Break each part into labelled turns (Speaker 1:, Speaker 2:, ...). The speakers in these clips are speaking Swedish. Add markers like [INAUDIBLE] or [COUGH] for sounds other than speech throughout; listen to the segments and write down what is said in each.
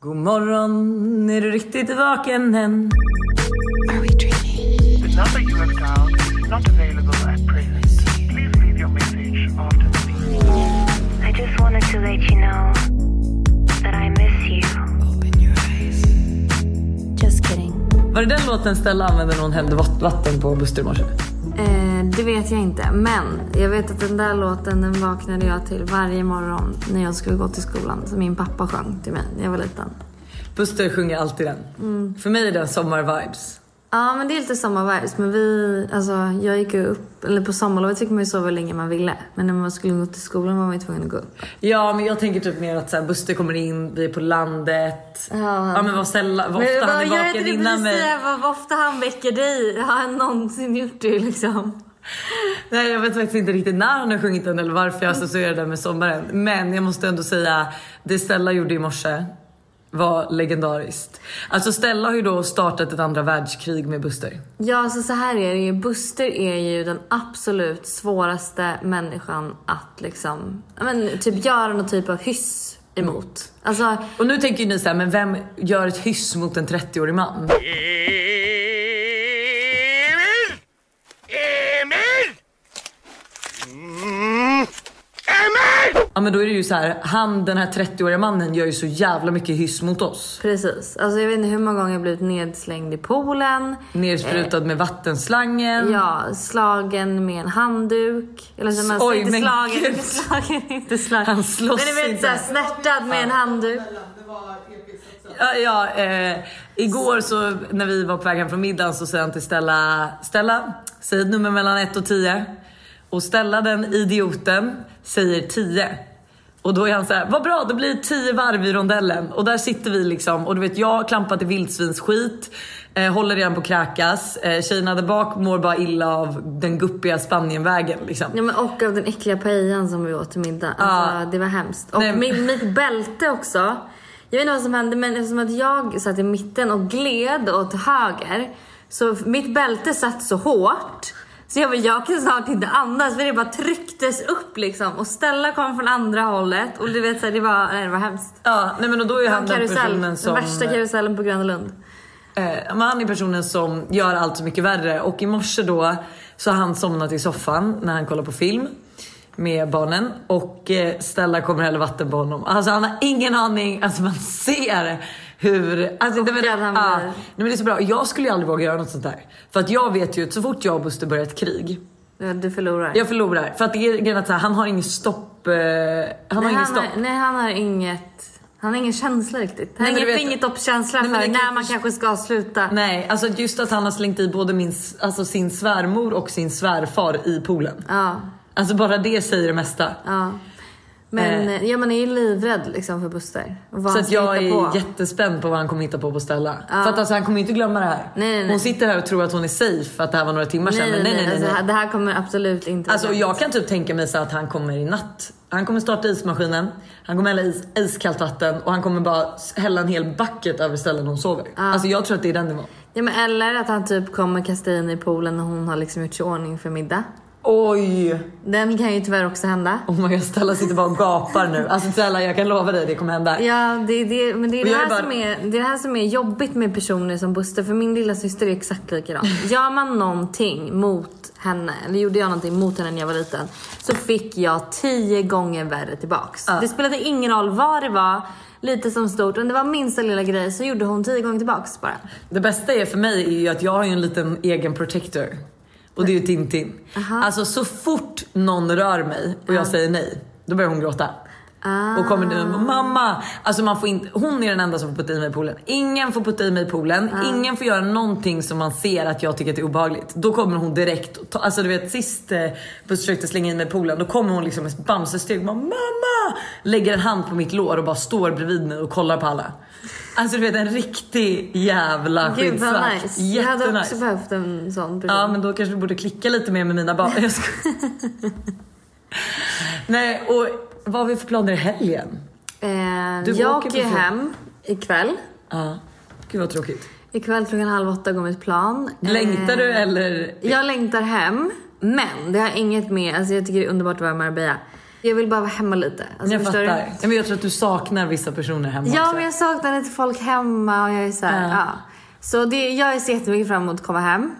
Speaker 1: God morgon, är du riktigt vaken än?
Speaker 2: The number you have dialed is not available at present. Please leave your message after the beep.
Speaker 3: I just wanted to let you know that I miss you. Just kidding.
Speaker 1: Var det den låten Stella använde när hon hällde vatt- vatten på Buster i morse?
Speaker 4: Eh, det vet jag inte, men jag vet att den där låten den vaknade jag till varje morgon när jag skulle gå till skolan. Som min pappa sjöng till mig när jag var liten.
Speaker 1: Buster sjunger alltid den. För mig är den sommarvibes.
Speaker 4: Ja, men det är lite sommarvibes. Men vi, alltså, jag gick ju upp, eller på sommarlovet fick man ju sova hur länge man ville. Men när man skulle gå till skolan var man ju tvungen att gå upp.
Speaker 1: Ja, men jag tänker typ mer att så här, Buster kommer in, vi är på landet.
Speaker 4: Ja,
Speaker 1: ja men vad sällan, vad ofta han är
Speaker 4: jag
Speaker 1: vaken innan mig.
Speaker 4: säga vad, vad ofta han väcker dig. Har han någonsin gjort det liksom?
Speaker 1: Nej jag vet faktiskt inte riktigt när han har sjungit den eller varför jag associerar den med sommaren. Men jag måste ändå säga, det Stella gjorde i morse var legendariskt. Alltså Stella har ju då startat ett andra världskrig med Buster.
Speaker 4: Ja, alltså så här är det ju. Buster är ju den absolut svåraste människan att liksom, ja, men typ göra någon typ av hyss emot. Alltså,
Speaker 1: Och nu tänker ju ni så här, men vem gör ett hyss mot en 30-årig man?
Speaker 5: Emil! Emil! Mm. Emil!
Speaker 1: Ja men då är det ju så här, han den här 30-åriga mannen gör ju så jävla mycket hyss mot oss.
Speaker 4: precis. Alltså jag vet inte hur många gånger jag blivit nedslängd i poolen.
Speaker 1: Mm. Nersprutad med vattenslangen.
Speaker 4: Ja, slagen med en handduk. Eller så man
Speaker 1: Oj,
Speaker 4: inte
Speaker 1: men
Speaker 4: slagen,
Speaker 1: gud.
Speaker 4: inte [LAUGHS] slagen, inte slagen.
Speaker 1: Han slåss
Speaker 4: Men du vet
Speaker 1: inte.
Speaker 4: såhär snärtad med en handduk.
Speaker 1: Ja, ja, eh, igår så när vi var på väg hem från middagen så säger han till Stella, Stella, säg ett nummer mellan 1 och 10. Och Stella den idioten säger 10. Och då är han så här, vad bra då blir det 10 varv i rondellen. Och där sitter vi liksom och du vet jag klampar till vildsvinsskit, eh, håller redan på att kräkas. Eh, tjejerna där bak mår bara illa av den guppiga Spanienvägen liksom.
Speaker 4: Ja, men och av den äckliga paellan som vi åt till middag. Alltså, Det var hemskt. Och
Speaker 1: Nej, men-
Speaker 4: min, mitt bälte också. Jag vet inte vad som hände men eftersom att jag satt i mitten och gled åt höger. Så mitt bälte satt så hårt. Så jag, bara, jag kan snart inte andas för det bara trycktes upp liksom. Och Stella kom från andra hållet och du vet så här, det var, nej, det var hemskt.
Speaker 1: Ja, nej men och då är han den
Speaker 4: Karusell,
Speaker 1: personen
Speaker 4: den
Speaker 1: som...
Speaker 4: värsta karusellen på Gröna Lund.
Speaker 1: Eh, men han är personen som gör allt så mycket värre och i morse då så har han somnat i soffan när han kollar på film med barnen och eh, Stella kommer hälla vatten på honom. Alltså han har ingen aning, alltså man ser hur... Alltså, det, men,
Speaker 4: Chockad han
Speaker 1: ah,
Speaker 4: blir.
Speaker 1: nej, men det är så bra. Jag skulle ju aldrig våga göra något sånt där. För att jag vet ju att så fort jag och Buster börjar ett krig,
Speaker 4: Ja, Du förlorar.
Speaker 1: jag förlorar. För att det är grejen att så här, han har ingen stopp. Eh, han har
Speaker 4: Nej,
Speaker 1: ingen
Speaker 4: han
Speaker 1: stopp.
Speaker 4: har, nej han har inget, han har ingen känsla riktigt. Han
Speaker 1: Nej,
Speaker 4: har
Speaker 1: men du
Speaker 4: ingen
Speaker 1: vet-
Speaker 4: fingertoppskänsla
Speaker 1: Nej, men
Speaker 4: för
Speaker 1: det kan
Speaker 4: när
Speaker 1: jag
Speaker 4: man
Speaker 1: förs-
Speaker 4: kanske ska sluta.
Speaker 1: Nej, alltså just att han har slängt i både min, alltså sin svärmor och sin svärfar i poolen.
Speaker 4: Ja,
Speaker 1: Alltså bara det säger det mesta.
Speaker 4: ja. Men
Speaker 1: Eh.
Speaker 4: eh. ja, man är ju livrädd liksom för Buster. Och vad
Speaker 1: Så
Speaker 4: han
Speaker 1: att
Speaker 4: ska
Speaker 1: jag är
Speaker 4: hitta på.
Speaker 1: jättespänd på vad han kommer hitta på på Stella. För att alltså, han kommer ju inte glömma det här.
Speaker 4: Nej, nej, nej.
Speaker 1: Hon sitter här och tror att hon är safe, att det här var några timmar sedan.
Speaker 4: Nej, nej,
Speaker 1: men
Speaker 4: nej,
Speaker 1: nej, nej,
Speaker 4: Alltså,
Speaker 1: nej.
Speaker 4: det här kommer absolut inte
Speaker 1: Alltså jag kan typ tänka mig så att han kommer i natt. Han kommer starta ismaskinen, han kommer hälla is, iskallt vatten och han kommer bara s- hälla en hel bucket över ställen hon sover. Alltså jag tror att det är den nivån.
Speaker 4: ja, men Eller att han typ kommer kasta in i poolen när hon har liksom gjort sig i ordning för middag.
Speaker 1: Oj!
Speaker 4: Den kan ju tyvärr också hända.
Speaker 1: Oh my god Stella sitter bara och gapar nu. Alltså Stella jag kan lova dig det kommer hända.
Speaker 4: Ja, det, är det, men det är
Speaker 1: Och
Speaker 4: det,
Speaker 1: jag är
Speaker 4: här
Speaker 1: bara-
Speaker 4: som är, det är det här som är jobbigt med personer som Buster. För min lilla syster är exakt likadan. Gör man någonting mot henne, eller gjorde jag någonting mot henne när jag var liten, så fick jag tio gånger värre tillbaks. Det spelade ingen roll vad det var, lite som stort, om det var minsta lilla grej så gjorde hon tio gånger tillbaks bara.
Speaker 1: Det bästa är för mig är ju att jag har ju en liten egen protector. Och det är ju Tintin. Alltså så fort någon rör mig och jag säger nej, då börjar hon gråta. Och kommer nu
Speaker 4: Ah.
Speaker 1: och mamma. Alltså man får inte, hon är den enda som får putta i mig i poolen. Ingen får putta i mig i poolen.
Speaker 4: Ah.
Speaker 1: Ingen får göra någonting som man ser att jag tycker att det är obehagligt. Då kommer hon direkt. och Ta, alltså du vet sist eh, Buster försökte slänga in mig i poolen. Då kommer hon liksom med bamsesteg. Mamma! Lägger en hand på mitt lår och bara står bredvid mig och kollar på alla. Alltså du vet en riktig jävla
Speaker 4: Gud vad
Speaker 1: skyddsvakt.
Speaker 4: nice. Jag hade också
Speaker 1: Jättenice.
Speaker 4: behövt en sån person.
Speaker 1: Ja men då kanske vi borde klicka lite mer med mina barn. Jag skojar.
Speaker 4: [LAUGHS]
Speaker 1: Nej och vad har vi för planer i helgen?
Speaker 4: eh,
Speaker 1: Du
Speaker 4: jag
Speaker 1: åker
Speaker 4: åker ju
Speaker 1: på fot.
Speaker 4: hem ikväll.
Speaker 1: Ja. Gud vad tråkigt.
Speaker 4: Ikväll klockan halv åtta går mitt plan.
Speaker 1: Längtar
Speaker 4: Eh,
Speaker 1: du eller?
Speaker 4: Jag längtar hem, men det har inget med... Alltså jag tycker det är underbart att vara i Marbella. Jag vill bara vara hemma lite. Alltså,
Speaker 1: Jag
Speaker 4: förstår
Speaker 1: fattar.
Speaker 4: du?
Speaker 1: Ja, men jag tror att du saknar vissa personer hemma
Speaker 4: Ja,
Speaker 1: också.
Speaker 4: men jag saknar lite folk hemma och jag är så här,
Speaker 1: Ja.
Speaker 4: ja. Så det, jag ser jättemycket fram emot att komma hem.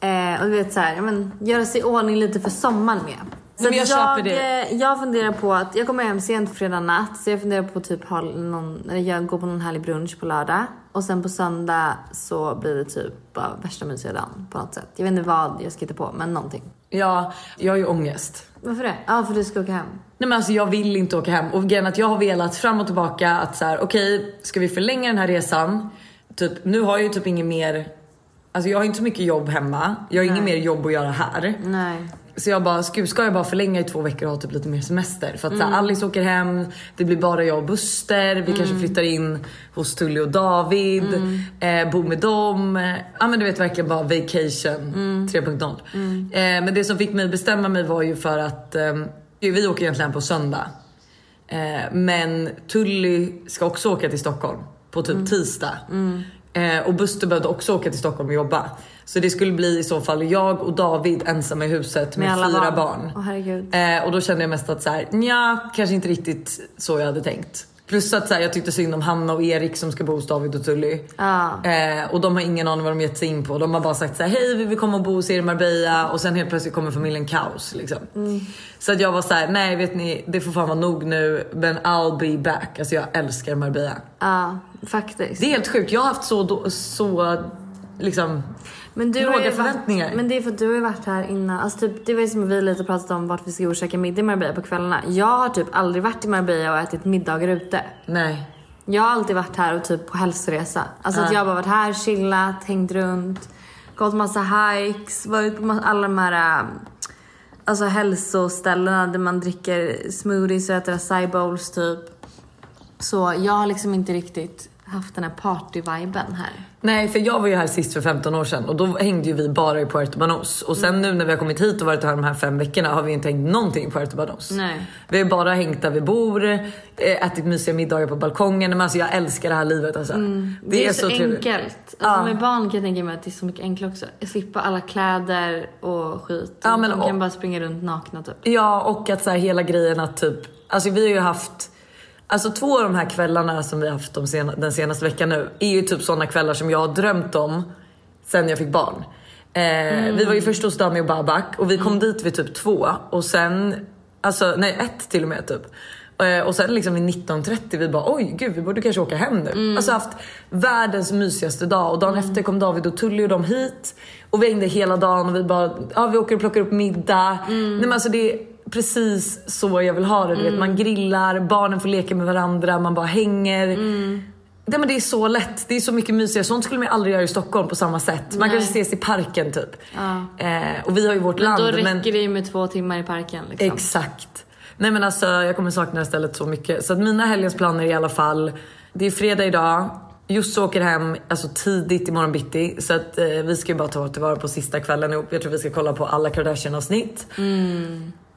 Speaker 4: Eh, och du vet så här, ja, men, göra sig i ordning lite för sommaren med. Så
Speaker 1: men jag
Speaker 4: att
Speaker 1: köper
Speaker 4: eh, jag funderar på att, jag kommer hem sent fredag natt, så jag funderar på typ ha någon, eller jag går på någon härlig brunch på lördag. Och sen på söndag så blir det typ bara värsta mysiga dagen på något sätt. Jag vet inte vad jag ska hitta på, men någonting.
Speaker 1: Ja, jag har ju ångest.
Speaker 4: Varför det? Ja, för du ska åka hem.
Speaker 1: Nej men alltså jag vill inte åka hem. Och grejen är att jag har velat fram och tillbaka att så här: okej, ska vi förlänga den här resan? Typ, nu har jag ju typ inget mer, alltså jag har inte så mycket jobb hemma. Jag har inget mer jobb att göra här.
Speaker 4: Nej.
Speaker 1: Så jag bara, "Sku, ska jag bara förlänga i två veckor och ha typ lite mer semester? För att så här, Alice åker hem, det blir bara jag och Buster, vi kanske flyttar in hos Tully och David, eh, bor med dem. Eh, Ja men du vet verkligen bara vacation 3.0. Eh, men det som fick mig bestämma mig var ju för att eh, vi åker egentligen på söndag. Eh, men Tully ska också åka till Stockholm på typ tisdag. Eh, och Buster behövde också åka till Stockholm och jobba. Så det skulle bli i så fall jag och David ensamma i huset med, fyra barn.
Speaker 4: Åh herregud.
Speaker 1: Eh, och då kände jag mest att så här, nja, kanske inte riktigt så jag hade tänkt. Plus att så här, jag tyckte synd om Hanna och Erik som ska bo hos David och Tully.
Speaker 4: Ja.
Speaker 1: Eh, och de har ingen aning vad de gett sig in på. De har bara sagt så här, hej vi vill komma och bo hos er i Marbella och sen helt plötsligt kommer familjen kaos. Liksom. Så att jag var så här, nej vet ni det får fan vara nog nu men I'll be back. Alltså jag älskar Marbella.
Speaker 4: Ja, faktiskt.
Speaker 1: Det är helt sjukt, jag har haft så, då, så liksom
Speaker 4: Men du har
Speaker 1: Låga
Speaker 4: ju
Speaker 1: förväntningar.
Speaker 4: Varit, men det är för att du har ju varit här innan. Alltså typ, det var ju som vi lite pratat om vart vi ska gå och käka middag i Marbella på kvällarna. Jag har typ aldrig varit i Marbella och ätit middagar ute.
Speaker 1: nej.
Speaker 4: Jag har alltid varit här och typ på hälsoresa. Alltså att
Speaker 1: Ja.
Speaker 4: jag har bara varit här, chillat, hängt runt, gått massa hikes, varit på ma- alla de här ähm, alltså hälsoställena där man dricker smoothies och äter acai bowls typ. Så jag har liksom inte riktigt haft den här party-viben här.
Speaker 1: Nej, för jag var ju här sist för 15 år sedan och då hängde ju vi bara i Puerto Banos. Och
Speaker 4: Mm.
Speaker 1: sen nu när vi har kommit hit och varit här de här fem veckorna har vi ju inte hängt någonting i Puerto Banos.
Speaker 4: Nej.
Speaker 1: Vi har ju bara hängt där vi bor, eh, ätit mysiga middagar på balkongen. Men alltså jag älskar det här livet alltså.
Speaker 4: Mm. Det, är, så, enkelt. Alltså Med barn kan jag tänka mig att det är så mycket enklare också. Slippa alla kläder och skit.
Speaker 1: Ja, men
Speaker 4: De
Speaker 1: och-
Speaker 4: kan bara springa runt nakna typ.
Speaker 1: Ja, och att så här, hela grejen att typ... Alltså vi har ju haft... Alltså två av de här kvällarna som vi har haft de sena, den senaste veckan nu är ju typ sådana kvällar som jag har drömt om sen jag fick barn. Eh, Vi var ju först hos Dami och Babak och vi kom dit vid typ två och sen... Alltså nej, ett till och med typ. Eh, Och sen liksom vid 19.30 vi bara oj gud vi borde kanske åka hem nu.
Speaker 4: Mm.
Speaker 1: Alltså haft världens mysigaste dag och dagen efter kom David och Tully och de hit. Och vi hängde hela dagen och vi bara ja vi åker och plockar upp middag.
Speaker 4: Mm.
Speaker 1: Nej, men alltså det är precis så jag vill ha det. Du vet, man grillar, barnen får leka med varandra, man bara hänger.
Speaker 4: Mm.
Speaker 1: Nej, men det är så lätt, det är så mycket mysigare. Sånt skulle man ju aldrig göra i Stockholm på samma sätt. Man
Speaker 4: Nej.
Speaker 1: kanske ses i parken typ. Eh, och vi har ju vårt land.
Speaker 4: Då räcker
Speaker 1: men...
Speaker 4: det ju med två timmar i parken liksom.
Speaker 1: Exakt. Nej men alltså jag kommer sakna det här stället så mycket. Så att mina helgens planer i alla fall. Det är fredag idag. Josse åker hem alltså tidigt imorgon bitti. Så att eh, vi ska ju bara ta tillvara på sista kvällen ihop. Jag tror vi ska kolla på alla Kardashian avsnitt.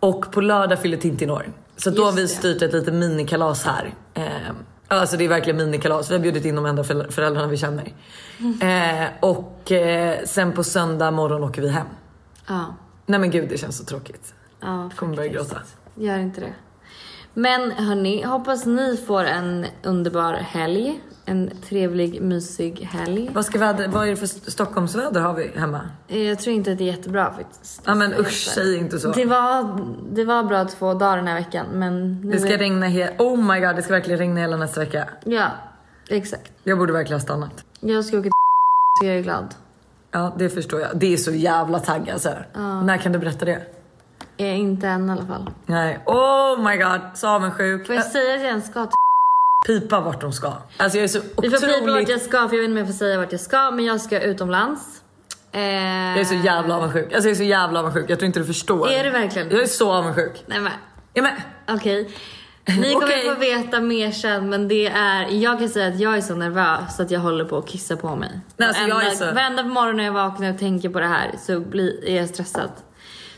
Speaker 1: Och på lördag fyller Tintin år. Så att då har
Speaker 4: Mm. Just
Speaker 1: vi
Speaker 4: det.
Speaker 1: styrt ett litet minikalas här. Eh, alltså det är verkligen minikalas. Vi har bjudit in de enda förä- föräldrarna vi känner.
Speaker 4: Mm.
Speaker 1: Eh, och eh, sen på söndag morgon åker vi hem.
Speaker 4: Ja.
Speaker 1: Nej men gud det känns så tråkigt.
Speaker 4: ja
Speaker 1: Jag kommer börja
Speaker 4: faktiskt.
Speaker 1: gråta.
Speaker 4: Gör inte det. Men hörni, hoppas ni får en underbar helg. En trevlig, mysig helg.
Speaker 1: Vad, ska väder, vad är det för st- Stockholmsväder har vi hemma?
Speaker 4: Eh, Jag tror inte att det är jättebra faktiskt. Alltså,
Speaker 1: Ja men usch, säg inte så.
Speaker 4: Det var, det var bra två dagar den här veckan men nu...
Speaker 1: Det ska
Speaker 4: är-
Speaker 1: regna hela... Oh my god, det ska verkligen regna hela nästa vecka.
Speaker 4: Ja, exakt.
Speaker 1: Jag borde verkligen ha stannat.
Speaker 4: Jag ska åka till så jag är glad.
Speaker 1: Ja, det förstår jag. Det är så jävla tagg alltså. När kan du berätta det?
Speaker 4: Eh, inte än i alla fall.
Speaker 1: Nej. Oh my god, så avundsjuk.
Speaker 4: Får jag
Speaker 1: Äh,
Speaker 4: säga att jag ens ska till
Speaker 1: Pipa vart de ska. Alltså jag är så
Speaker 4: Vi får pipa vart
Speaker 1: otroligt...
Speaker 4: jag ska för jag vet inte om jag får säga vart jag ska men jag ska utomlands. Eh,
Speaker 1: Jag är så jävla avundsjuk. Alltså jag är så jävla avundsjuk. Jag tror inte du förstår.
Speaker 4: Är du verkligen?
Speaker 1: Jag är så avundsjuk.
Speaker 4: Nej men
Speaker 1: Ja, men,
Speaker 4: okej. Ni kommer
Speaker 1: Okej.
Speaker 4: få veta mer sen men det är, jag kan säga att jag är så nervös att jag håller på att kissa på mig.
Speaker 1: Nej, alltså, jag är
Speaker 4: varenda,
Speaker 1: så-
Speaker 4: varenda morgon när jag vaknar och tänker på det här så blir, är jag stressad.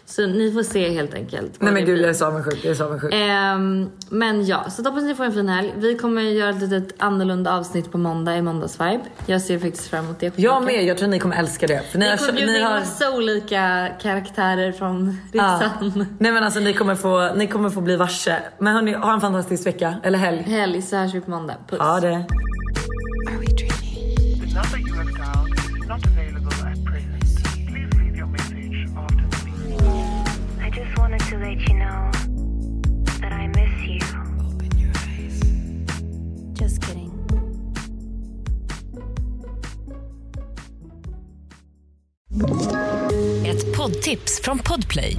Speaker 6: Så ni får se helt enkelt. vad
Speaker 1: Nej men
Speaker 6: det
Speaker 1: gud
Speaker 6: blir.
Speaker 1: jag är så avundsjuk, jag är så
Speaker 4: Eh,
Speaker 1: avundsjuk.
Speaker 6: Ehm, men ja, så hoppas ni får en fin helg. Vi kommer göra ett litet annorlunda avsnitt på måndag i måndagsvibe. Jag ser faktiskt fram emot det.
Speaker 1: Jag med, jag tror ni kommer älska det. För ni
Speaker 6: Ni
Speaker 1: har,
Speaker 6: kommer bjuda
Speaker 1: ni
Speaker 6: in
Speaker 1: har,
Speaker 6: massa olika karaktärer från
Speaker 1: ja.
Speaker 6: resan. [LAUGHS]
Speaker 1: Nej men alltså ni kommer, få, ni kommer få bli varse. Men hörni, ha en fantastisk vecka, eller helg.
Speaker 6: Helg så hörs vi på måndag. Puss.
Speaker 1: Ha det.
Speaker 2: The number you have dialed is not available at present. Please leave your message after the beep.
Speaker 3: I just wanted to let you know that I miss you. Just kidding.
Speaker 7: Ett poddtips från Podplay.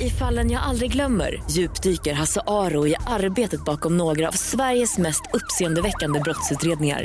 Speaker 7: I fallen jag aldrig glömmer djupdyker Hasse Aro i arbetet bakom några av Sveriges mest uppseendeväckande brottsutredningar.